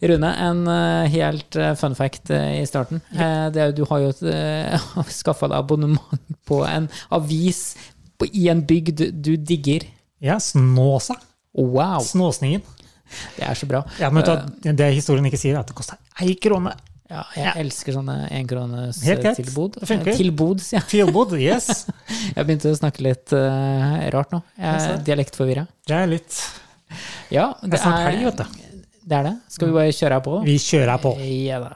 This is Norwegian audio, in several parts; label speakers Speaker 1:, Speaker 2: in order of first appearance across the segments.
Speaker 1: Rune, en eh, helt eh, fun fact eh, i starten. Eh, Det er, jo- du har jo uh, skaffa deg abonnement på en avis på, i en bygd du digger.
Speaker 2: Ja, Snåsa.
Speaker 1: Wow!
Speaker 2: Snåsningen.
Speaker 1: Det er så bra.
Speaker 2: Ja, men vet
Speaker 1: Eh.
Speaker 2: du, hva, det historien ikke sier, er at det koster ei krone.
Speaker 1: Ja, jeg elsker sånne
Speaker 2: Helt greit.
Speaker 1: enkronestilbod.
Speaker 2: Det funker.
Speaker 1: Tilbod, sier jeg.
Speaker 2: Tilbud, yes.
Speaker 1: Jeg begynte å snakke litt eh, rart nå. Jeg
Speaker 2: Jeg
Speaker 1: er
Speaker 2: ser.
Speaker 1: dialektforvirra.
Speaker 2: Det er litt
Speaker 1: Ja,
Speaker 2: Det
Speaker 1: det
Speaker 2: er snart helg,
Speaker 1: er,
Speaker 2: vet du.
Speaker 1: det er det. Skal vi bare kjøre her på?
Speaker 2: Vi kjører her på.
Speaker 1: Ja da.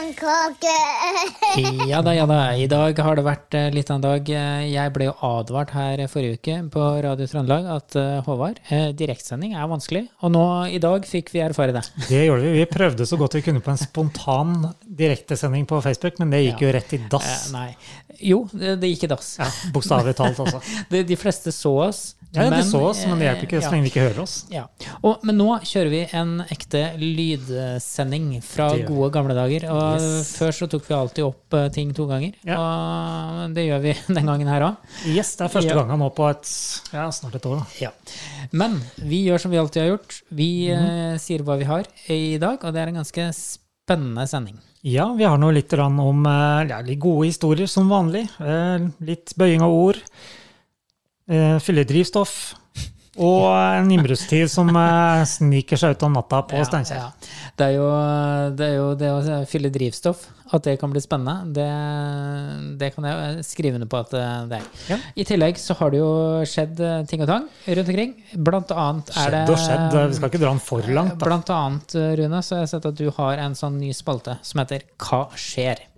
Speaker 3: Blomkake.
Speaker 1: Ja da, ja da. I dag har det vært eh, litt av en dag. Eh, Jeg ble jo advart her forrige uke på Radio Trøndelag at eh, Håvard, eh, direktsending er vanskelig. Og nå i dag fikk vi erfare det.
Speaker 2: Det gjorde vi. Vi prøvde så godt vi kunne på en spontan direktesending på Facebook, men det gikk jo rett i dass.
Speaker 1: Eh, Nei. Jo, det det gikk i dass.
Speaker 2: Ja, Bokstavelig talt, altså.
Speaker 1: De, de fleste så oss.
Speaker 2: Ja, de så oss, men det hjelper ikke
Speaker 1: eh, ja.
Speaker 2: så lenge de ikke hører oss.
Speaker 1: Ja. Og, men nå kjører vi en ekte lydsending fra
Speaker 2: Det gjør vi.
Speaker 1: gode gamle dager. Og
Speaker 2: Yes.
Speaker 1: Før så tok vi alltid opp eh, ting to ganger, og det gjør vi den gangen her òg.
Speaker 2: Yes, det er første
Speaker 1: Ja.
Speaker 2: gangen nå på et, ja, snart et år. da.
Speaker 1: Ja. Men vi gjør som vi alltid har gjort. Vi
Speaker 2: Mhm.
Speaker 1: eh, sier hva vi har i dag, og det er en ganske spennende sending.
Speaker 2: Ja, vi har nå litt grann om eh, ja, litt gode historier, som vanlig. Eh, Litt bøying av ord. eh, Fylle drivstoff. Og en innbruddstyv som eh, sniker seg ut om natta på Steinkjer.
Speaker 1: Ja. Det, er jo, det er jo det å fylle drivstoff, at det kan bli spennende, det, det kan jeg skrive under på at eh, det er.
Speaker 2: Ja.
Speaker 1: I tillegg så har det jo skjedd eh, ting og tang rundt omkring. Blant annet er det Eh,
Speaker 2: Skjedd og skjedd. Eh, Vi skal ikke dra den for langt. da.
Speaker 1: Blant annet, eh, Rune, så har jeg sett at du har en sånn ny spalte som heter Hva skjer?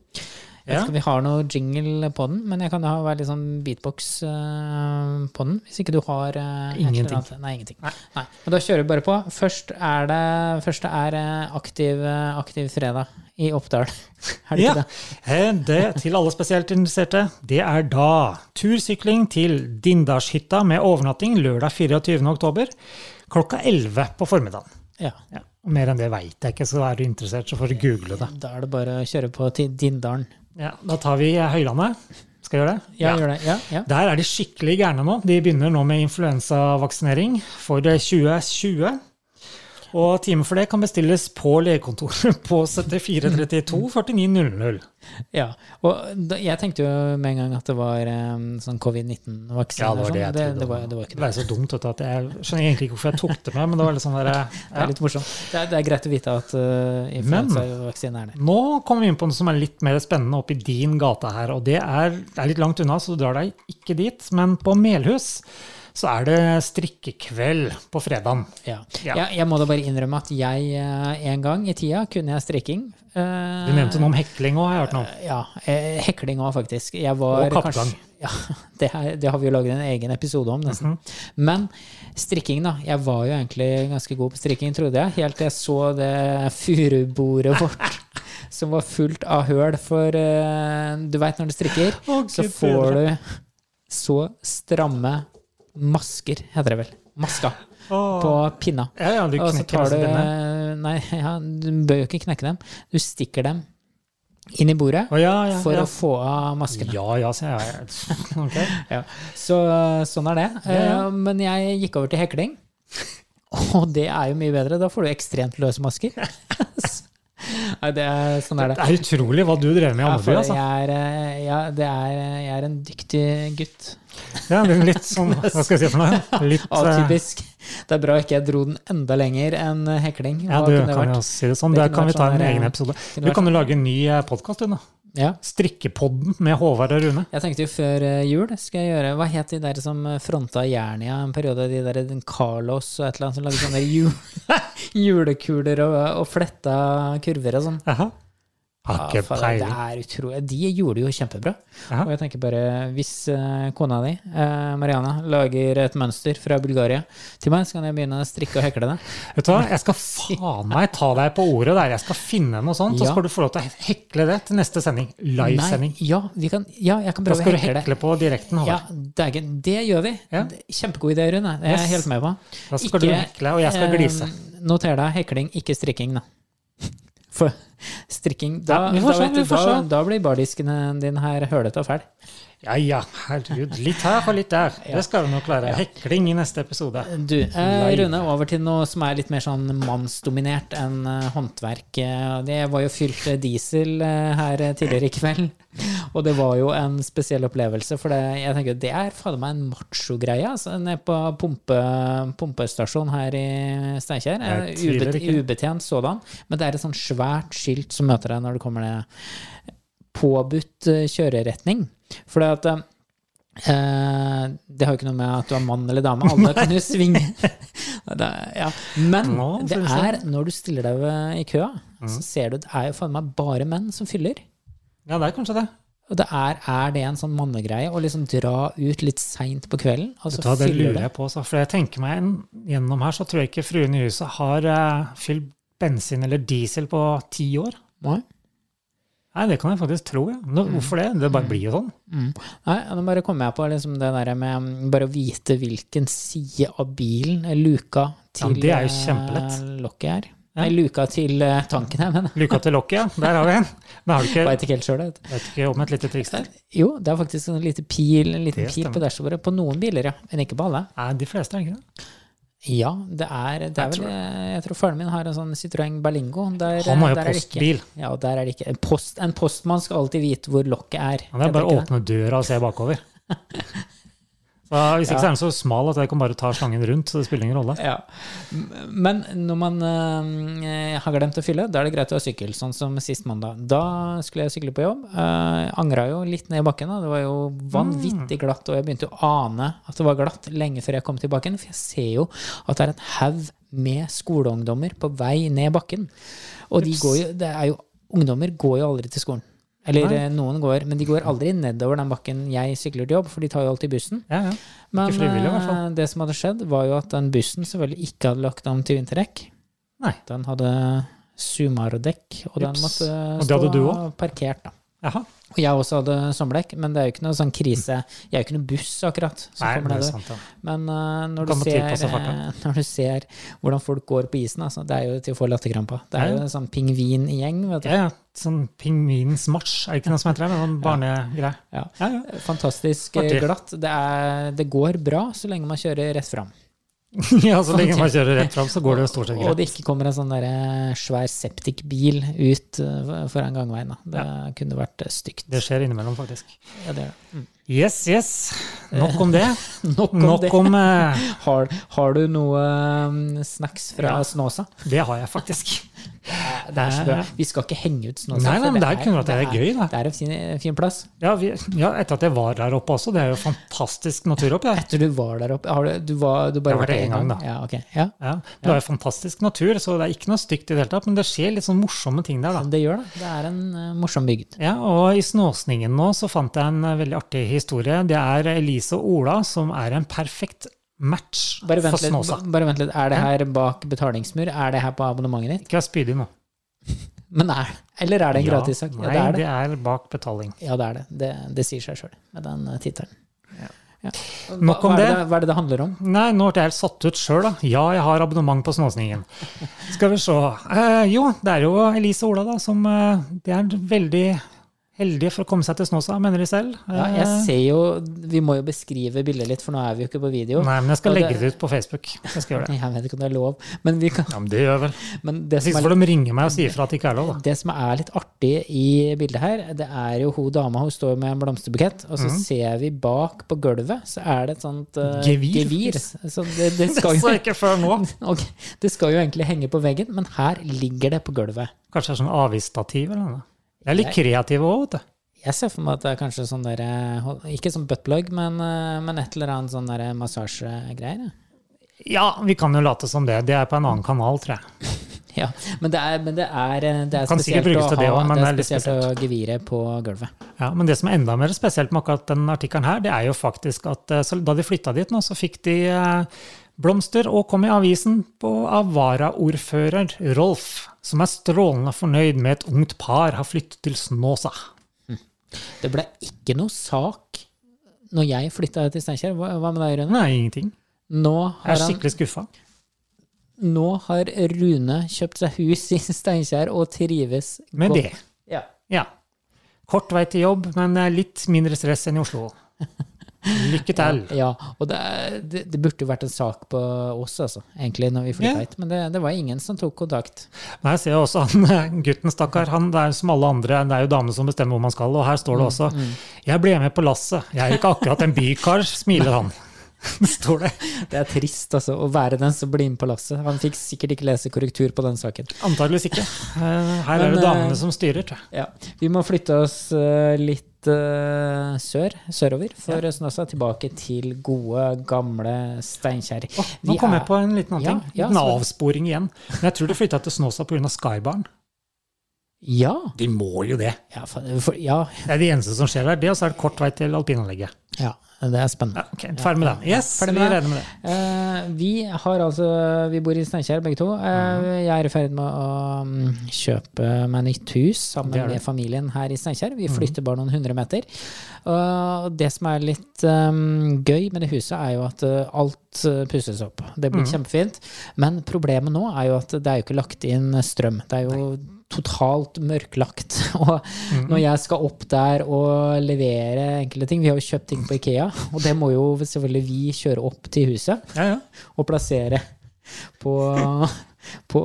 Speaker 1: Jeg vet
Speaker 2: Ja.
Speaker 1: ikke om vi har noe jingle på den, men jeg kan ha være litt sånn beatbox eh, på den. Hvis ikke du har eh, et eller
Speaker 2: Ingenting.
Speaker 1: annet- Nei, ingenting. Nei. Men da kjører vi bare på. Først er det første er eh, aktiv, eh, aktiv fredag i Oppdal. Er det
Speaker 2: Ja.
Speaker 1: ikke det?
Speaker 2: Eh, Det til alle spesielt interesserte, det er da tursykling til Dindalshytta med overnatting lørdag 24. oktober klokka 11 på formiddagen.
Speaker 1: Ja.
Speaker 2: Ja. Mer enn det veit jeg ikke, så er du interessert, så får du google det.
Speaker 1: Da er det bare å kjøre på til Dindalen.
Speaker 2: Ja, da tar vi eh, Høylandet. Skal jeg gjøre det?
Speaker 1: Ja, gjør det. Ja, ja.
Speaker 2: Der er de skikkelig gærne nå. De begynner nå med influensavaksinering for eh, 2020. Og time for det kan bestilles på legekontoret på 7432 4900.
Speaker 1: Ja, og da, jeg tenkte jo med en gang at det var eh, sånn covid-19-vaksine.
Speaker 2: Ja, det var det jeg
Speaker 1: sånn, det,
Speaker 2: trodde.
Speaker 1: det, var, det var ikke
Speaker 2: Det er så dumt vet du, at jeg skjønner egentlig ikke hvorfor jeg tok det med, men det var litt sånn derre
Speaker 1: Det
Speaker 2: ja.
Speaker 1: er litt morsomt. Det er, det er greit å vite at uh, influensavaksine er der.
Speaker 2: Nå kommer vi inn på noe som er litt mer spennende oppi din gate her, og det er, det er litt langt unna, så du drar deg ikke dit, men på Melhus så er det strikkekveld på fredagen.
Speaker 1: Ja.
Speaker 2: Ja.
Speaker 1: Jeg, jeg må da bare innrømme at jeg eh, en gang i tida kunne jeg strikking. Eh,
Speaker 2: Du nevnte noe om hekling òg, har jeg hørt noe om.
Speaker 1: Ja. eh, hekling òg, faktisk. Jeg var
Speaker 2: Og kappgang.
Speaker 1: kanskje- Ja, det, er, det har vi jo laget en egen episode om,
Speaker 2: Mhm.
Speaker 1: nesten. Men strikking, da. Jeg var jo egentlig ganske god på strikking, trodde jeg. Helt til jeg så det furubordet vårt. Som var fullt av høl, for eh, du veit når du strikker,
Speaker 2: Å,
Speaker 1: så
Speaker 2: Gud
Speaker 1: får du så stramme masker, heter det vel. Maska. På pinna.
Speaker 2: Ja, ja, du
Speaker 1: Og så
Speaker 2: knekker
Speaker 1: tar du eh,
Speaker 2: nesten dine.
Speaker 1: Nei, ja, du bør jo ikke knekke dem. Du stikker dem inn i bordet
Speaker 2: Å ja, ja,
Speaker 1: for
Speaker 2: ja.
Speaker 1: å få av maskene.
Speaker 2: Ja, ja, sier jeg. Ok.
Speaker 1: Ja. Så sånn er det.
Speaker 2: ja.
Speaker 1: Eh, Men jeg gikk over til hekling, og det er jo mye bedre. Da får du ekstremt løse masker. Nei, det er, sånn er det.
Speaker 2: Det er utrolig hva du drev med i
Speaker 1: Ja, for
Speaker 2: Andeby, altså.
Speaker 1: jeg, er, eh, ja, det er, eh, jeg er en dyktig gutt.
Speaker 2: Ja, det er litt sånn, hva skal jeg si for noe? Litt eh,
Speaker 1: Atypisk. Det er bra ikke jeg dro den enda lenger enn hekling.
Speaker 2: eh, Ja,
Speaker 1: Hva
Speaker 2: du
Speaker 1: kunne det
Speaker 2: kan
Speaker 1: vært?
Speaker 2: jo si det sånn.
Speaker 1: Det
Speaker 2: Det
Speaker 1: kunne
Speaker 2: kan vi
Speaker 1: vært
Speaker 2: ta i
Speaker 1: sånn
Speaker 2: en
Speaker 1: der,
Speaker 2: egen
Speaker 1: eh,
Speaker 2: episode.
Speaker 1: kunne
Speaker 2: Du
Speaker 1: vært
Speaker 2: kan jo lage en ny podkast, du, nå.
Speaker 1: Ja.
Speaker 2: Strikkepodden med Håvard og Rune.
Speaker 1: Jeg tenkte jo før eh, jul skal jeg gjøre Hva het de der som fronta Jernia en periode? De der den Carlos og et eller annet som lagde sånne jul, julekuler og, og fletta kurver og sånn.
Speaker 2: Jaha. Har
Speaker 1: Ja,
Speaker 2: ikke
Speaker 1: faen, det
Speaker 2: peiling.
Speaker 1: er utrolig. De gjorde jo kjempebra.
Speaker 2: Ja.
Speaker 1: Og jeg tenker bare, hvis eh, kona di, eh, Mariana, lager et mønster fra Bulgaria til meg, så kan jeg begynne å strikke og hekle det.
Speaker 2: Vet du hva, jeg skal faen meg ta deg på ordet der. Jeg skal finne noe sånt, så
Speaker 1: Ja.
Speaker 2: skal du få lov til å hekle det til neste sending. Livesending.
Speaker 1: Nei, ja, vi kan, ja, jeg kan
Speaker 2: Da
Speaker 1: prøve å
Speaker 2: skal du
Speaker 1: hekle det.
Speaker 2: hekle på direkten,
Speaker 1: Ja,
Speaker 2: Håvard.
Speaker 1: dægen. Det gjør vi.
Speaker 2: Ja.
Speaker 1: Kjempegod idé, Rune. Det er jeg
Speaker 2: Yes.
Speaker 1: helt med på.
Speaker 2: Da skal du hekle, og jeg skal glise.
Speaker 1: Eh, noter deg hekling, ikke strikking, da. For strikking. Da,
Speaker 2: Ja, vi får
Speaker 1: da,
Speaker 2: se,
Speaker 1: vet du,
Speaker 2: vi får
Speaker 1: da,
Speaker 2: se.
Speaker 1: da blir bardiskene dine her hølete og fæl.
Speaker 2: Ja ja, herregud. Litt her og litt der. Det skal vi nok klare. Hekling i neste episode.
Speaker 1: Du, eh, Rune, over til noe som er litt mer sånn mannsdominert enn eh, håndverk. Eh, Det var jo fylt eh, diesel eh, her eh, tidligere i kveld, og det var jo en spesiell opplevelse. For det, jeg tenker, det er fader meg en macho-greie. Altså, nede på pumpe, pumpestasjonen her i Steinkjer. Eh,
Speaker 2: Jeg tviler
Speaker 1: ubet-
Speaker 2: ikke.
Speaker 1: Ubetjent sådan. Men det er et sånt svært skilt som møter deg når du kommer ned. Påbudt eh, kjøreretning. For det at eh, Eh, det har jo ikke noe med at du er mann eller dame. Alle kan jo svinge. Det er- ja. Men
Speaker 2: Nå,
Speaker 1: det
Speaker 2: får vi Mm.
Speaker 1: er når du stiller deg ved- i køa, så ser du det er jo faen meg bare menn som fyller.
Speaker 2: Ja, det er kanskje det.
Speaker 1: Og det er, er det en sånn mannegreie å liksom dra ut litt seint på kvelden, og så
Speaker 2: Vet du hva, det
Speaker 1: fyller
Speaker 2: lurer
Speaker 1: du?
Speaker 2: jeg på også. For jeg tenker meg en- gjennom her, så tror jeg ikke fruen i huset har eh, fylt bensin eller diesel på ti år.
Speaker 1: Nei.
Speaker 2: Nei, det kan jeg faktisk tro, ja. Nå, hvorfor det? Det bare blir jo sånn.
Speaker 1: Mm. Nei, nå bare kom jeg på liksom det der med mm, bare å vite hvilken side av bilen, eh, luka til
Speaker 2: det er jo
Speaker 1: eh,
Speaker 2: kjempelett.
Speaker 1: lokket er. Nei, luka til eh, tanken, jeg mener.
Speaker 2: Luka til lokket, ja. Der har vi en. Men har du ikke,
Speaker 1: Veit ikke helt sjøl, vet du.
Speaker 2: vet du ikke om et lite triks der?
Speaker 1: Jo, det er faktisk en liten pil, en liten
Speaker 2: Det
Speaker 1: pil på
Speaker 2: stemmer.
Speaker 1: dashbordet på noen biler, ja. Men ikke på alle.
Speaker 2: Nei, de fleste er ikke det.
Speaker 1: Ja, det er, det er
Speaker 2: Jeg
Speaker 1: vel eh,
Speaker 2: tror
Speaker 1: Jeg tror faren min har en sånn Citroën Berlingo. Der,
Speaker 2: Han har jo
Speaker 1: der er det ikke-
Speaker 2: postbil.
Speaker 1: Ja, og der er det ikke. En, post, en postmann skal alltid vite hvor lokket er.
Speaker 2: Ja,
Speaker 1: Jeg
Speaker 2: det er bare å
Speaker 1: tenker
Speaker 2: åpne døra og se bakover. Så hvis ikke så er den så smal at jeg kan bare ta slangen rundt, så det spiller ingen rolle.
Speaker 1: Ja. M- Men når man eh, har glemt å fylle, da er det greit å ha sykkel, sånn som sist mandag. Da skulle jeg sykle på jobb. Uh, angra jo litt ned i bakken, da. det var jo vanvittig glatt, og jeg begynte å ane at det var glatt lenge før jeg kom til bakken, for jeg ser jo at det er en haug med skoleungdommer på vei ned bakken. Og de går jo, det er jo, ungdommer går jo aldri til skolen. Eller
Speaker 2: Nei.
Speaker 1: eh, noen går, men de går aldri nedover den bakken jeg sykler til jobb, for de tar jo alltid bussen.
Speaker 2: Ja, ja.
Speaker 1: Men
Speaker 2: frivillig, i hvert fall.
Speaker 1: eh, det som hadde skjedd, var jo at den bussen selvfølgelig ikke hadde lagt om til vinterdekk.
Speaker 2: Nei.
Speaker 1: Den hadde Sumarodekk, og den
Speaker 2: Ups.
Speaker 1: måtte
Speaker 2: Og det
Speaker 1: stå
Speaker 2: hadde du også?
Speaker 1: parkert. da.
Speaker 2: Jaha.
Speaker 1: Og jeg også hadde sommerdekk, men det er jo ikke noe sånn krise. Jeg er jo ikke noe buss, akkurat. som
Speaker 2: Nei,
Speaker 1: kommer
Speaker 2: det er
Speaker 1: nedover.
Speaker 2: sant, ja.
Speaker 1: Men eh, når,
Speaker 2: Kan
Speaker 1: du
Speaker 2: man
Speaker 1: ser,
Speaker 2: tilpasse farten?
Speaker 1: eh, når du ser hvordan folk går på isen, altså, det er jo til å få latterkrampa. Det er
Speaker 2: Ja, ja.
Speaker 1: jo en sånn pingvingjeng, vet du.
Speaker 2: Ja, ja. Sånn pingvinens marsj, er det ikke noe som heter det? Men sånn barnegreie.
Speaker 1: Ja.
Speaker 2: Ja, ja.
Speaker 1: Fantastisk eh,
Speaker 2: Artig.
Speaker 1: glatt. Det, er, det går bra så lenge man kjører rett fram.
Speaker 2: ja, så lenge man kjører rett fram, så går det jo stort sett
Speaker 1: Og
Speaker 2: greit.
Speaker 1: det ikke kommer en sånn der eh, svær septikbil ut eh, foran gangveien. Da. Det kunne vært eh, stygt.
Speaker 2: Det skjer innimellom, faktisk.
Speaker 1: Ja, det er det.
Speaker 2: Yes, yes. Nok om det.
Speaker 1: Eh, Nok om
Speaker 2: Nok
Speaker 1: det.
Speaker 2: om eh,
Speaker 1: Har, har du noe eh, snacks fra
Speaker 2: Ja.
Speaker 1: Snåsa?
Speaker 2: Det har jeg faktisk.
Speaker 1: Det er så bra. Vi skal ikke henge ut Snåsa.
Speaker 2: Nei, nei,
Speaker 1: for
Speaker 2: men det er kun at det er gøy, da.
Speaker 1: Det er en fin, eh, fin plass.
Speaker 2: Ja, vi, ja, etter at jeg var der oppe også. Det er jo fantastisk natur oppe der.
Speaker 1: Etter du var der oppe har du, du, var, du bare
Speaker 2: Jeg har
Speaker 1: vært
Speaker 2: vært
Speaker 1: der
Speaker 2: en
Speaker 1: en
Speaker 2: gang, da.
Speaker 1: Ja, ok. ja.
Speaker 2: Ja, det er jo fantastisk natur, så det er ikke noe stygt i det hele tatt. Men det skjer litt sånn morsomme ting der, da.
Speaker 1: Men det gjør det. Det er en eh, morsom bygd.
Speaker 2: Ja, og i Snåsningen nå så fant jeg en eh, veldig artig historie. Det er Elise og Ola som er en perfekt match
Speaker 1: Bare
Speaker 2: for
Speaker 1: vent, litt,
Speaker 2: Snåsa.
Speaker 1: ba- bare vent litt. Er det her bak betalingsmur? Er det her på abonnementet ditt?
Speaker 2: Ikke vær spydig nå.
Speaker 1: Men er, eller er det en
Speaker 2: Ja,
Speaker 1: gratissak? Ja,
Speaker 2: Nei,
Speaker 1: det er det.
Speaker 2: det er bak betaling.
Speaker 1: Ja, det er det. Det, det sier seg sjøl med den eh, tittelen. Ja. Hva,
Speaker 2: Nok om
Speaker 1: hva er
Speaker 2: det.
Speaker 1: Hva er det det handler om?
Speaker 2: Nei, nå ble jeg helt satt ut sjøl, da. Ja, jeg har abonnement på Snåsningen. Skal vi se. Eh, jo, det er jo Elise og Ola, da, som eh, De er veldig heldige for å komme seg til Snåsa, mener de selv.
Speaker 1: Ja, jeg
Speaker 2: Eh,
Speaker 1: ser jo Vi må jo beskrive bildet litt, for nå er vi jo ikke på video.
Speaker 2: Nei, men jeg skal
Speaker 1: Og
Speaker 2: legge
Speaker 1: det-
Speaker 2: det ut på Facebook. Jeg skal gjøre det.
Speaker 1: Jeg vet ikke om det er lov, men, vi kan,
Speaker 2: Ja, men det gjør vel.
Speaker 1: men det,
Speaker 2: Sist
Speaker 1: som er,
Speaker 2: får de ringe meg og si ifra at det ikke er lov, da.
Speaker 1: det som er litt artig i bildet her, det er jo hun dama hun står med en blomsterbukett, og så ser vi bak på gulvet, så er det et sånt eh,
Speaker 2: Gevir.
Speaker 1: gevir. Så det, det,
Speaker 2: Det
Speaker 1: skal
Speaker 2: sa
Speaker 1: jo,
Speaker 2: jeg ikke før nå.
Speaker 1: ok, det skal jo egentlig henge på veggen, men her ligger det på gulvet.
Speaker 2: Kanskje det er sånn avisstativ eller noe. Jeg er litt kreativ òg, vet du.
Speaker 1: Jeg ser for meg at det er kanskje sånn der eh, Ikke sånn buttplug, men, eh, men et eller annet sånn der massasjegreier. ja.
Speaker 2: Ja, vi kan jo late som det. Det er på en annen kanal, tror jeg.
Speaker 1: Ja, men det er, men det er, eh, det er
Speaker 2: Kan sikkert
Speaker 1: spesielt å
Speaker 2: brukes til det
Speaker 1: ha-
Speaker 2: også, men
Speaker 1: det
Speaker 2: det
Speaker 1: er
Speaker 2: er litt
Speaker 1: spesielt å gevire på gulvet.
Speaker 2: Ja, Men det som er enda mer spesielt med akkurat den artikkelen her, det er jo faktisk at eh, så da de flytta dit nå, så fikk de eh, blomster og kom i avisen på av varaordfører Rolf, som er strålende fornøyd med et ungt par har flyttet til Snåsa.
Speaker 1: Det ble ikke noe sak når jeg flytta til Steinkjer. Hva, hva med deg, Rune?
Speaker 2: Nei, ingenting.
Speaker 1: Nå
Speaker 2: Jeg
Speaker 1: har
Speaker 2: er
Speaker 1: han
Speaker 2: skikkelig skuffa.
Speaker 1: Nå har Rune kjøpt seg hus i Steinkjer og trives
Speaker 2: Med det.
Speaker 1: Ja.
Speaker 2: Ja. Kort vei til jobb, men eh, litt mindre stress enn i Oslo. Lykke til.
Speaker 1: ja, og det, er- det, det burde jo vært en sak på oss, altså, egentlig, når vi flytta
Speaker 2: Ja.
Speaker 1: hit. Men det, det var ingen som tok kontakt.
Speaker 2: Nei, jeg ser jo også han eh, gutten, stakkar. Han det er jo som alle andre, det er jo damene som bestemmer hvor man skal. Og her står
Speaker 1: Mm,
Speaker 2: det også 'Jeg ble med på lasset'. Jeg er jo ikke akkurat en bykar, smiler han. står det.
Speaker 1: Det er trist, altså, å være den som blir med på lasset. Han fikk sikkert ikke lese korrektur på den saken.
Speaker 2: Antageligvis ikke. Eh, Her er
Speaker 1: Men,
Speaker 2: det
Speaker 1: eh,
Speaker 2: damene som styrer, tror jeg.
Speaker 1: Ja. Vi må flytte oss eh, litt eh, sør, sørover, for Snåsa. Tilbake til gode, gamle Steinkjer.
Speaker 2: Nå
Speaker 1: Vi
Speaker 2: kom jeg
Speaker 1: er-
Speaker 2: på en liten annen
Speaker 1: Ja,
Speaker 2: ting.
Speaker 1: ja,
Speaker 2: en
Speaker 1: så-
Speaker 2: avsporing igjen. Men jeg tror de flytta til Snåsa pga. Skybarn.
Speaker 1: Ja.
Speaker 2: De må jo det.
Speaker 1: Ja, for, for, ja.
Speaker 2: Det er det eneste som skjer der. Det, og så er det kort vei til alpinanlegget.
Speaker 1: ja. Det er spennende.
Speaker 2: Ja, ok, Ferdig med den. Yes,
Speaker 1: Ferdig
Speaker 2: vi
Speaker 1: med
Speaker 2: er
Speaker 1: det.
Speaker 2: enige med det.
Speaker 1: Eh, vi har altså Vi bor i Steinkjer, begge to.
Speaker 2: Mhm.
Speaker 1: Eh, jeg er i ferd med å mm, kjøpe meg nytt hus sammen
Speaker 2: Det er det. Mhm.
Speaker 1: med familien her i Steinkjer. Vi flytter bare noen hundre meter. Og det som er litt eh, gøy med det huset, er jo at eh, alt eh, pusses opp. Det blir
Speaker 2: Mm.
Speaker 1: kjempefint. Men problemet nå er jo at det er jo ikke lagt inn eh, strøm. Det er jo totalt mørklagt. Og
Speaker 2: Mm.
Speaker 1: når jeg skal opp der og levere enkelte ting Vi har jo kjøpt ting på Ikea, og det må jo selvfølgelig vi kjøre opp til huset
Speaker 2: Ja, ja.
Speaker 1: og plassere på, på,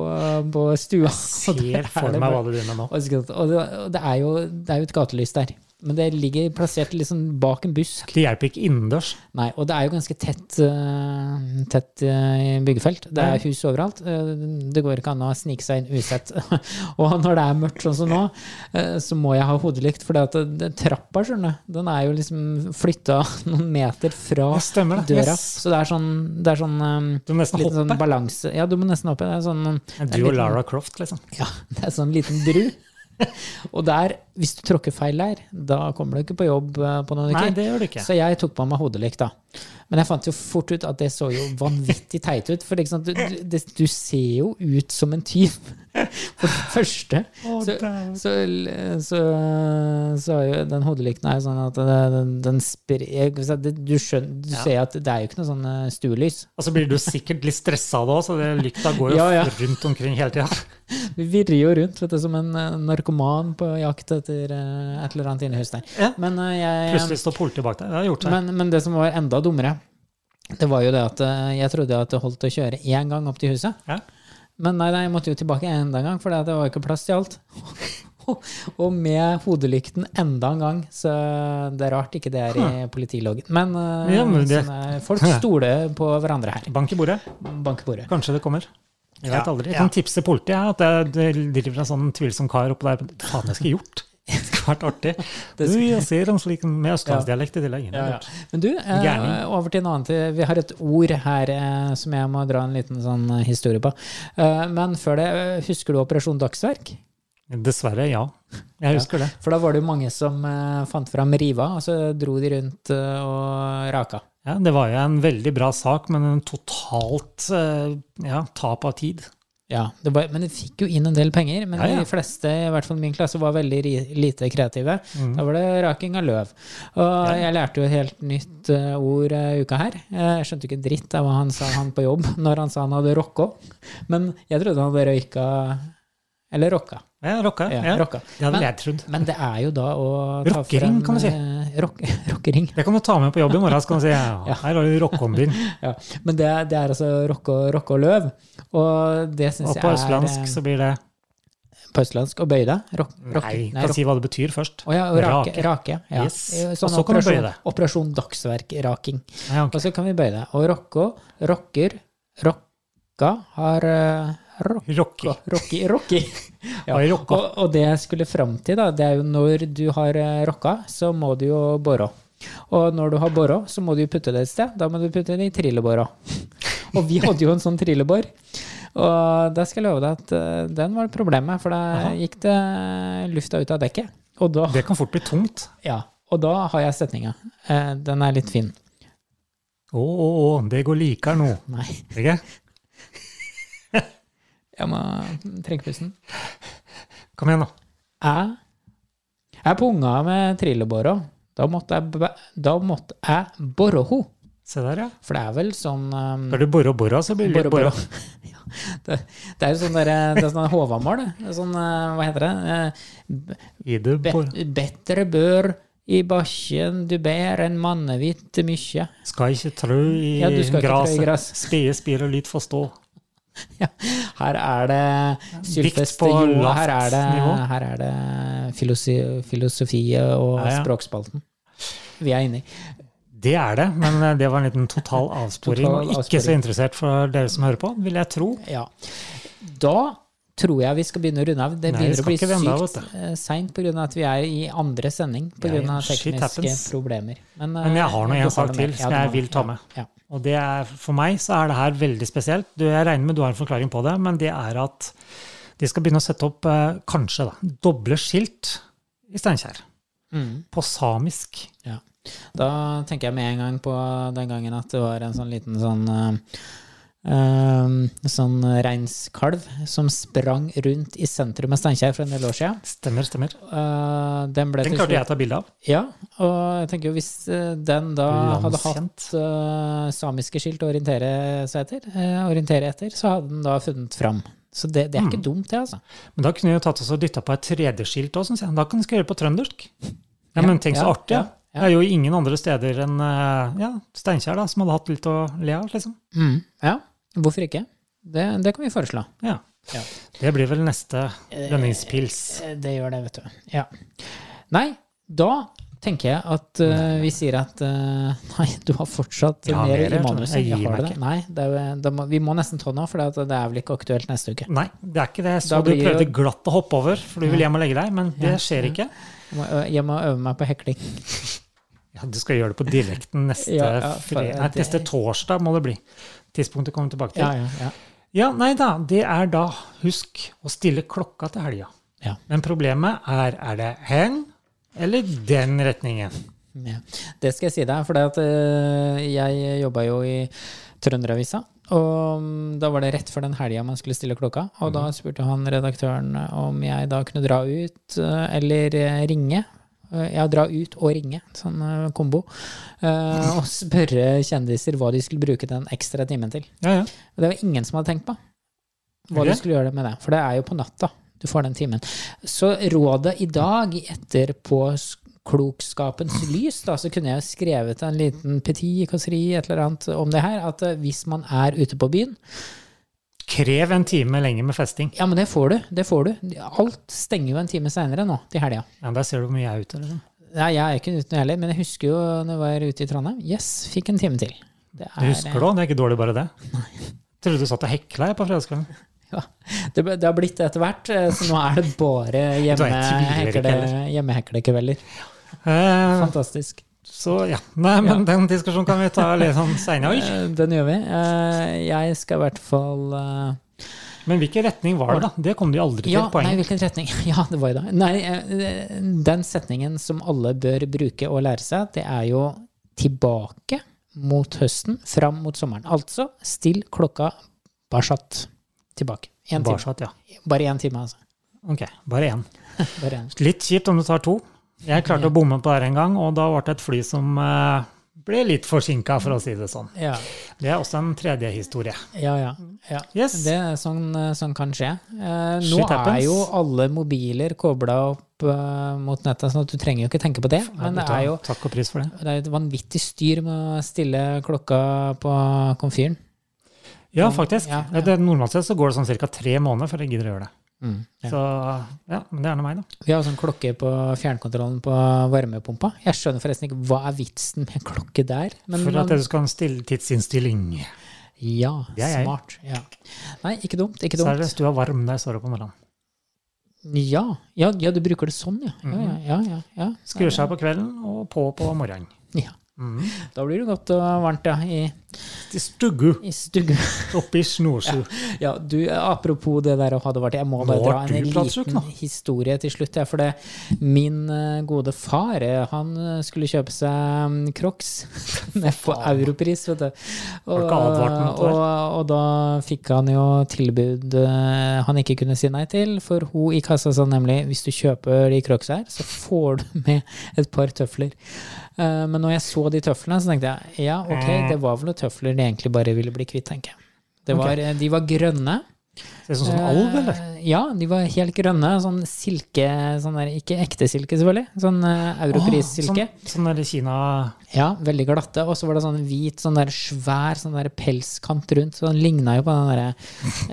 Speaker 1: på stua. Og det er
Speaker 2: Ser for
Speaker 1: det
Speaker 2: meg
Speaker 1: bare-
Speaker 2: hva du driver med nå.
Speaker 1: Og så- og det, og det, er jo, det er jo et gatelys der. Men det ligger plassert liksom bak en busk.
Speaker 2: Det hjelper ikke innendørs.
Speaker 1: Nei, Og det er jo ganske tett, eh, tett eh, byggefelt. Det er hus overalt. Eh, det går ikke an å snike seg inn usett. og når det er mørkt sånn som nå, eh, så må jeg ha hodelykt. For det, at det- trappa skjønner du, den er jo liksom flytta noen meter fra
Speaker 2: Ja, stemmer det.
Speaker 1: døra.
Speaker 2: Yes.
Speaker 1: Så det er sånn, det er sånn eh,
Speaker 2: Du må nesten
Speaker 1: Liten sånn
Speaker 2: hoppe.
Speaker 1: balanse Ja, du må nesten hoppe. Det er sånn, det er
Speaker 2: Du og
Speaker 1: liten-
Speaker 2: Lara Croft, liksom.
Speaker 1: Ja, det er sånn liten bru. Og der, hvis du tråkker feil der, da kommer du ikke på jobb eh, på noen
Speaker 2: Nei,
Speaker 1: uker.
Speaker 2: det gjør du ikke.
Speaker 1: Så jeg tok på meg hodelykt, da. Men jeg fant jo fort ut at det så jo vanvittig teit ut. For det er ikke sant, du, du, det, du ser jo ut som en tyv. For det første
Speaker 2: Å,
Speaker 1: så,
Speaker 2: dæven.
Speaker 1: så, så, så er jo den hodelykten er jo sånn at det- den, den spir, jeg- Du, skjønner, du
Speaker 2: Ja.
Speaker 1: ser at det er jo ikke noe sånn eh, stuelys.
Speaker 2: Og så blir du sikkert litt stressa da òg, så det lykta går jo
Speaker 1: Ja, ja.
Speaker 2: rundt omkring hele tida.
Speaker 1: Vi virrer jo rundt vet du, som en eh, narkoman på jakt etter eh, et eller annet inne i huset der.
Speaker 2: Ja.
Speaker 1: Men, eh, jeg,
Speaker 2: Plutselig står politiet bak deg. Det har gjort seg.
Speaker 1: men, men det som var enda dummere, det var jo det at eh, jeg trodde at det holdt å kjøre én gang opp til huset.
Speaker 2: Ja.
Speaker 1: Men nei, nei, jeg måtte jo tilbake enda en gang, for det var ikke plass til alt. Og med hodelykten enda en gang, så det er rart ikke det er i politiloggen. Men, eh,
Speaker 2: Ja, men det-
Speaker 1: sånn er- folk stoler på hverandre her.
Speaker 2: Bank i bordet.
Speaker 1: Bankebordet.
Speaker 2: Kanskje det kommer. Jeg
Speaker 1: Ja,
Speaker 2: vet aldri. Jeg
Speaker 1: ja.
Speaker 2: kan tipse politiet jeg, at det det driver en sånn tvilsom kar oppå der. Hva faen jeg skal gjort? Det skulle vært artig. Du, jeg ser om slik med østlandsdialekt i tillegg.
Speaker 1: Ja, ja. Men du, eh,
Speaker 2: Gærning.
Speaker 1: over til en annen tid. Vi har et ord her eh, som jeg må dra en liten sånn eh, historie på. Eh, men før det, eh, husker du Operasjon Dagsverk?
Speaker 2: Dessverre, ja. Jeg husker det.
Speaker 1: For da var det jo mange som eh, fant fram riva, og så dro de rundt eh, og raka.
Speaker 2: Ja, det var jo en veldig bra sak, men en totalt eh, ja, tap av tid.
Speaker 1: Ja, det var, Men de fikk jo inn en del penger. Men
Speaker 2: Ja, ja.
Speaker 1: de fleste, i hvert fall min klasse, var veldig ri, lite kreative.
Speaker 2: Mm.
Speaker 1: Da var det raking av løv. Og jeg lærte jo et helt nytt eh, ord eh, uka her. Eh, Jeg skjønte jo ikke dritt av hva han sa han på jobb når han sa han hadde rocka. Men jeg trodde han hadde røyka Eller rocka.
Speaker 2: Ja, rocka.
Speaker 1: Ja,
Speaker 2: Ja,
Speaker 1: rocka.
Speaker 2: Det hadde
Speaker 1: Men-
Speaker 2: jeg trodd.
Speaker 1: Men det er jo da å ta
Speaker 2: Rockering, kan du si.
Speaker 1: eh, Rock, rockering.
Speaker 2: Det kan du ta med på jobb i morgen. så kan du si ja, her har du rockehånden din.
Speaker 1: Ja. Men det, det er altså rocke og, rocke og løv. Og det syns
Speaker 2: Og
Speaker 1: jeg
Speaker 2: på
Speaker 1: er
Speaker 2: østlandsk så blir det
Speaker 1: eh, På østlandsk. Og bøye deg. Rock, rock-
Speaker 2: Nei,
Speaker 1: nei,
Speaker 2: kan si hva det betyr først.
Speaker 1: Å ja, og rake. rake. ja.
Speaker 2: Yes.
Speaker 1: Eh,
Speaker 2: Og så kan du bøye
Speaker 1: operasjon,
Speaker 2: det.
Speaker 1: operasjon dagsverk-raking.
Speaker 2: Ja, ok.
Speaker 1: Og så kan vi bøye det. Og rocko, rocker, rocka har eh, rocka,
Speaker 2: Rocky.
Speaker 1: rocky, rocky. Ja.
Speaker 2: Oi,
Speaker 1: Og,
Speaker 2: rocka.
Speaker 1: og det jeg skulle fram til, da, det er jo når du har eh, rocka, så må du jo borå. Og når du har borå, så må du jo putte det et sted. Da må du putte det i trillebåra. Og vi hadde jo en sånn trillebår. Og da skal jeg love deg at eh, den var problemet, for da gikk det eh, lufta ut av dekket. Og da
Speaker 2: Det kan fort bli tungt.
Speaker 1: ja, og da har jeg setninga. Eh, den er litt fin.
Speaker 2: Å, å, å, det går likere nå.
Speaker 1: Nei,
Speaker 2: Ikke?
Speaker 1: jeg må trekke pusten.
Speaker 2: Kom igjen, nå.
Speaker 1: Jeg, jeg punga med trillebåra. Da måtte jeg, bæ- da måtte jeg borre ho.
Speaker 2: Se der, ja.
Speaker 1: For det er vel sånn um,
Speaker 2: Da er det Bora Bora, så blir det
Speaker 1: Bora
Speaker 2: litt Bora.
Speaker 1: Bora. Ja, det, det er jo sånn der, det er sånn Håvamål. det. Det er Sånn, eh, hva heter det? Eh,
Speaker 2: I det
Speaker 1: Be
Speaker 2: Bora.
Speaker 1: Bedre bør i bakken du ber enn mannevitt mykje.
Speaker 2: Skal ikke trø i
Speaker 1: Ja, du skal ikke trø i
Speaker 2: graset.
Speaker 1: gras.
Speaker 2: Spede spir og lyt forstå.
Speaker 1: Ja. Her er det
Speaker 2: Dikt
Speaker 1: sylfest
Speaker 2: på
Speaker 1: jo,
Speaker 2: lavt
Speaker 1: her er det,
Speaker 2: nivå.
Speaker 1: her er det filosi, filosofi og
Speaker 2: Ja, ja.
Speaker 1: språkspalten vi er inne i.
Speaker 2: Det er det, men eh, det var en liten total avsporing.
Speaker 1: Total
Speaker 2: og ikke
Speaker 1: avsporing.
Speaker 2: så interessert for dere som hører på, vil jeg tro.
Speaker 1: Ja. Da tror jeg vi skal begynne å runde av. Det
Speaker 2: Nei, vi
Speaker 1: begynner å
Speaker 2: skal
Speaker 1: bli
Speaker 2: ikke runde av,
Speaker 1: sykt eh,
Speaker 2: vet
Speaker 1: seint pga. at vi er i andre sending
Speaker 2: Ja, ja.
Speaker 1: pga.
Speaker 2: Shit
Speaker 1: tekniske
Speaker 2: happens.
Speaker 1: problemer. Men,
Speaker 2: Men jeg har nå
Speaker 1: eh,
Speaker 2: en
Speaker 1: du
Speaker 2: sak
Speaker 1: det
Speaker 2: til
Speaker 1: med. Ja,
Speaker 2: som
Speaker 1: du
Speaker 2: jeg
Speaker 1: har
Speaker 2: vil
Speaker 1: det.
Speaker 2: ta med.
Speaker 1: Ja.
Speaker 2: Og det er, for meg så er det her veldig spesielt. Du, jeg regner med du har en forklaring på det, men det er at de skal begynne å sette opp eh, kanskje da, doble skilt i Steinkjer.
Speaker 1: Ja. Mm.
Speaker 2: På samisk.
Speaker 1: Ja. Da tenker jeg med en gang på den gangen at det var en sånn liten sånn eh, eh, sånn reinskalv som sprang rundt i sentrum av Steinkjer for en del år siden.
Speaker 2: Stemmer, stemmer.
Speaker 1: Eh, den ble
Speaker 2: Den
Speaker 1: til
Speaker 2: klarte
Speaker 1: slutt
Speaker 2: jeg å ta bilde av.
Speaker 1: Ja, og jeg tenker jo hvis eh, den da hadde hatt
Speaker 2: Landskjent.
Speaker 1: eh, samiske skilt å orientere seg etter, eh, orientere etter, så hadde den da funnet fram. Så det, det er
Speaker 2: Mm.
Speaker 1: ikke dumt, det, altså.
Speaker 2: Men da kunne jeg jo tatt oss og dytta på et tredjeskilt òg, syns jeg. Da kan du skrive på trøndersk. Ja, men tenk så
Speaker 1: ja,
Speaker 2: artig. Ja,
Speaker 1: ja, ja.
Speaker 2: Det er jo ingen andre steder enn eh, ja, Steinkjer da, som hadde hatt litt å le av, liksom.
Speaker 1: Mm. Ja, hvorfor ikke? Det, det kan vi foreslå.
Speaker 2: Ja.
Speaker 1: Ja.
Speaker 2: Det blir vel neste lønningspils.
Speaker 1: Eh, Det gjør det, vet du. Ja. Nei, da tenker jeg at eh, vi sier at eh, Nei, du har fortsatt
Speaker 2: Jeg har
Speaker 1: mer
Speaker 2: mer,
Speaker 1: i
Speaker 2: jeg tror.
Speaker 1: manuset.
Speaker 2: Jeg gir
Speaker 1: har
Speaker 2: meg
Speaker 1: det. Nei, det er, jo- eh, da må, vi må nesten ta nå, for det at det er vel ikke aktuelt neste uke.
Speaker 2: Nei, det er ikke det. Jeg så
Speaker 1: Da
Speaker 2: du
Speaker 1: blir
Speaker 2: prøvde
Speaker 1: jo-
Speaker 2: glatt å hoppe over, for du vil hjem og legge deg, men det skjer ikke.
Speaker 1: Jeg må, ø- jeg må øve meg på hekling.
Speaker 2: Ja, du skal gjøre det på direkten neste,
Speaker 1: Ja, ja, for
Speaker 2: fri... Nei,
Speaker 1: det-
Speaker 2: neste torsdag, må det bli. Tidspunktet kommer vi tilbake til.
Speaker 1: Ja, ja, ja.
Speaker 2: Ja, nei da. Det er da husk å stille klokka til helga.
Speaker 1: Ja.
Speaker 2: Men problemet er er det hen eller den retningen?
Speaker 1: Ja. Det skal jeg si deg, for det at, eh, jeg jobba jo i Trønderavisa. Og mm, da var det rett før den helga man skulle stille klokka. Og da spurte han redaktøren eh, om jeg da kunne dra ut eh, eller eh, ringe. Eh, Ja, dra ut og ringe, sånn eh, kombo. Eh, Og spørre kjendiser hva de skulle bruke den ekstra timen til.
Speaker 2: Ja, ja.
Speaker 1: Og det var ingen som hadde tenkt på hva
Speaker 2: Ok.
Speaker 1: du skulle gjøre med det. For det er jo på natta du får den timen. Så rådet i dag, etter på s- klokskapens lys, da, så kunne jeg jo skrevet en liten petit kåseri, et eller annet, om det her. At eh, hvis man er ute på byen
Speaker 2: Krev en time lenger med festing.
Speaker 1: Ja, men det får du. Det får du. Alt stenger jo en time seinere nå, til helga.
Speaker 2: Ja, der ser du hvor mye jeg er ute. Liksom.
Speaker 1: Nei, jeg er ikke ute nå heller, men jeg husker jo når jeg var ute i Trondheim. Yes, fikk en time til. Det
Speaker 2: Du husker det òg, det er ikke dårlig bare det. Trodde du satt og hekla jeg på fredagskvelden.
Speaker 1: Ja, eh, det, ble- det har blitt det etter hvert, eh, så nå er det bare
Speaker 2: Du er en tviler ikke
Speaker 1: hjemmehekle-
Speaker 2: heller.
Speaker 1: hjemmeheklekvelder.
Speaker 2: Eh,
Speaker 1: Fantastisk.
Speaker 2: så ja. Nei, men den diskusjonen kan vi ta litt sånn seinere.
Speaker 1: Eh, Den gjør vi. Eh, Jeg skal i hvert fall eh,
Speaker 2: Men hvilken retning var det, da? Det kom de aldri til,
Speaker 1: Ja, nei,
Speaker 2: poenget.
Speaker 1: hvilken retning? Ja, det var jo det. Nei, eh, den setningen som alle bør bruke og lære seg, det er jo tilbake mot høsten, fram mot sommeren. Altså, still klokka barsat tilbake. En
Speaker 2: Bare
Speaker 1: time.
Speaker 2: satt, ja.
Speaker 1: Bare én time, altså.
Speaker 2: Ok, bare én.
Speaker 1: Bare en.
Speaker 2: Litt kjipt om du tar to. Jeg klarte å bomme på det her en gang, og da ble det et fly som eh, ble litt forsinka, for å si det sånn.
Speaker 1: Ja,
Speaker 2: Det er også en tredje historie.
Speaker 1: ja, ja. ja.
Speaker 2: Yes.
Speaker 1: Det er sånn, sånn kan skje. Eh, nå
Speaker 2: Shit
Speaker 1: er
Speaker 2: happens.
Speaker 1: jo alle mobiler kobla opp eh, mot nettet, sånn at du trenger jo ikke tenke på det.
Speaker 2: Ja,
Speaker 1: Men det
Speaker 2: tar-
Speaker 1: er jo
Speaker 2: Takk og pris for det.
Speaker 1: det er et vanvittig styr med å stille klokka på komfyren.
Speaker 2: Ja, faktisk.
Speaker 1: Ja,
Speaker 2: Det- Normalt sett så går det sånn ca. tre måneder før jeg gidder å gjøre det.
Speaker 1: Mm, Ja.
Speaker 2: Så ja, men det er nå meg, da.
Speaker 1: Vi har sånn klokke på fjernkontrollen på varmepumpa. Jeg skjønner forresten ikke hva er vitsen med klokke der. Men
Speaker 2: For
Speaker 1: man,
Speaker 2: at du skal ha en stille tidsinnstilling.
Speaker 1: ja,
Speaker 2: Det er jeg.
Speaker 1: smart. Ja. Nei, ikke dumt. Ikke dumt.
Speaker 2: Seriøst, du er varm der, står det på morgenen.
Speaker 1: Ja. Ja, ja, du bruker det sånn, ja. Ja,
Speaker 2: Mhm.
Speaker 1: ja, ja, ja, ja.
Speaker 2: Skrur seg av på kvelden og på på morgenen.
Speaker 1: ja. Da blir det godt og varmt, ja. I,
Speaker 2: Til stuggu
Speaker 1: i stugge.
Speaker 2: oppi snorsju.
Speaker 1: Ja, du, apropos det der å ha det varmt, jeg må bare
Speaker 2: Nå
Speaker 1: dra
Speaker 2: er
Speaker 1: en
Speaker 2: du platsjuk,
Speaker 1: liten
Speaker 2: nå.
Speaker 1: historie til slutt. Ja, for det, min eh, gode far eh, han eh, skulle kjøpe seg mm, Crocs med på europris, vet du. Og,
Speaker 2: ikke advart mot det der?
Speaker 1: og, og da fikk han jo tilbud eh, han ikke kunne si nei til, for hun i kassa sa nemlig hvis du kjøper de Crocs her, så får du med et par tøfler. Eh, Men når jeg så så de tøflene, så tenkte jeg ja,
Speaker 2: Mm.
Speaker 1: ok, det var vel noen tøfler de egentlig bare ville bli kvitt, tenker jeg. Det var, eh, De var grønne.
Speaker 2: Ser ut sånn som en alv,
Speaker 1: Eh,
Speaker 2: eller?
Speaker 1: Ja, de var helt grønne. Sånn silke sånn der, Ikke ekte silke, selvfølgelig. Sånn eh, europris-silke.
Speaker 2: Åh, Ah, Sånn, sånn der Kina
Speaker 1: Ja, veldig glatte. Og så var det sånn hvit, sånn der svær sånn der pelskant rundt. Så den ligna jo på den derre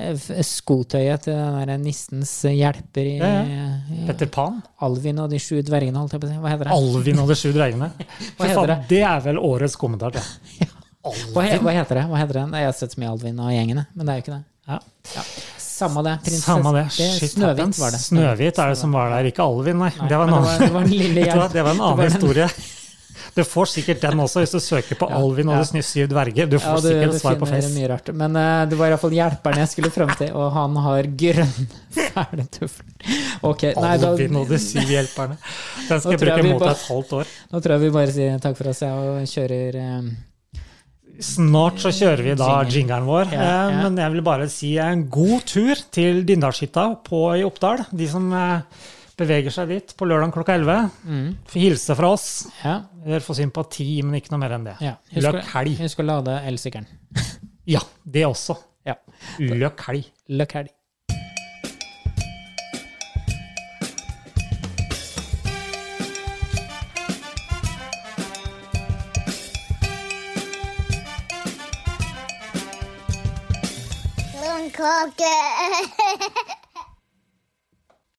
Speaker 1: eh, f- skotøyet til den derre nissens hjelper i
Speaker 2: Ja,
Speaker 1: eh,
Speaker 2: Petter Pan?
Speaker 1: Alvin og de sju dvergene, holdt jeg på å si. Hva heter det?
Speaker 2: Alvin og de sju drengene? Fy
Speaker 1: heter
Speaker 2: faen,
Speaker 1: det?
Speaker 2: det er vel årets kommentar, det.
Speaker 1: Hva, he hva heter det? Hva heter den? Jeg har sett så mye Alvin og gjengene, men det er jo ikke det.
Speaker 2: Ja.
Speaker 1: Samme det. prinsesse-
Speaker 2: Samme det.
Speaker 1: det
Speaker 2: Shit
Speaker 1: Snøhvit
Speaker 2: happens.
Speaker 1: var det.
Speaker 2: Snøhvit er det som var der, ikke Alvin, nei. det var en
Speaker 1: men det
Speaker 2: annen,
Speaker 1: var- det var en lille
Speaker 2: Vet du hva,
Speaker 1: hjelp.
Speaker 2: det var en
Speaker 1: Det var
Speaker 2: annen
Speaker 1: en-
Speaker 2: historie. Du får sikkert den også, hvis du søker på Alvin og
Speaker 1: ja.
Speaker 2: de sny- syv dverger. Du
Speaker 1: Ja,
Speaker 2: får
Speaker 1: du,
Speaker 2: sikkert
Speaker 1: du
Speaker 2: svar på
Speaker 1: finner
Speaker 2: Face.
Speaker 1: mye rart. Men eh, det var iallfall hjelperen jeg skulle frem til, og han har grønne, fæle tøfler. Ok, nei, da,
Speaker 2: Alvin og de syv hjelperne. Den skal
Speaker 1: Da tror
Speaker 2: jeg
Speaker 1: jeg
Speaker 2: bruke
Speaker 1: vi
Speaker 2: mot
Speaker 1: bare-
Speaker 2: deg et halvt år.
Speaker 1: Nå tror jeg vi bare sier takk for oss, jeg, og kjører eh,
Speaker 2: Snart så kjører vi da
Speaker 1: Jingle.
Speaker 2: jingeren vår.
Speaker 1: Ja,
Speaker 2: eh,
Speaker 1: ja.
Speaker 2: Men jeg vil bare si en god tur til Dindalshytta på- i Oppdal. De som eh, beveger seg dit på lørdag klokka 11.
Speaker 1: mm,
Speaker 2: Få hilse fra oss.
Speaker 1: Ja.
Speaker 2: Dere får sympati, men ikke noe mer enn det.
Speaker 1: ja.
Speaker 2: Løk
Speaker 1: å-
Speaker 2: helg.
Speaker 1: husk å lade elsykkelen.
Speaker 2: Ja, det også.
Speaker 1: Ja.
Speaker 2: Løk helg.
Speaker 1: Løkk helg.
Speaker 3: Blomkake.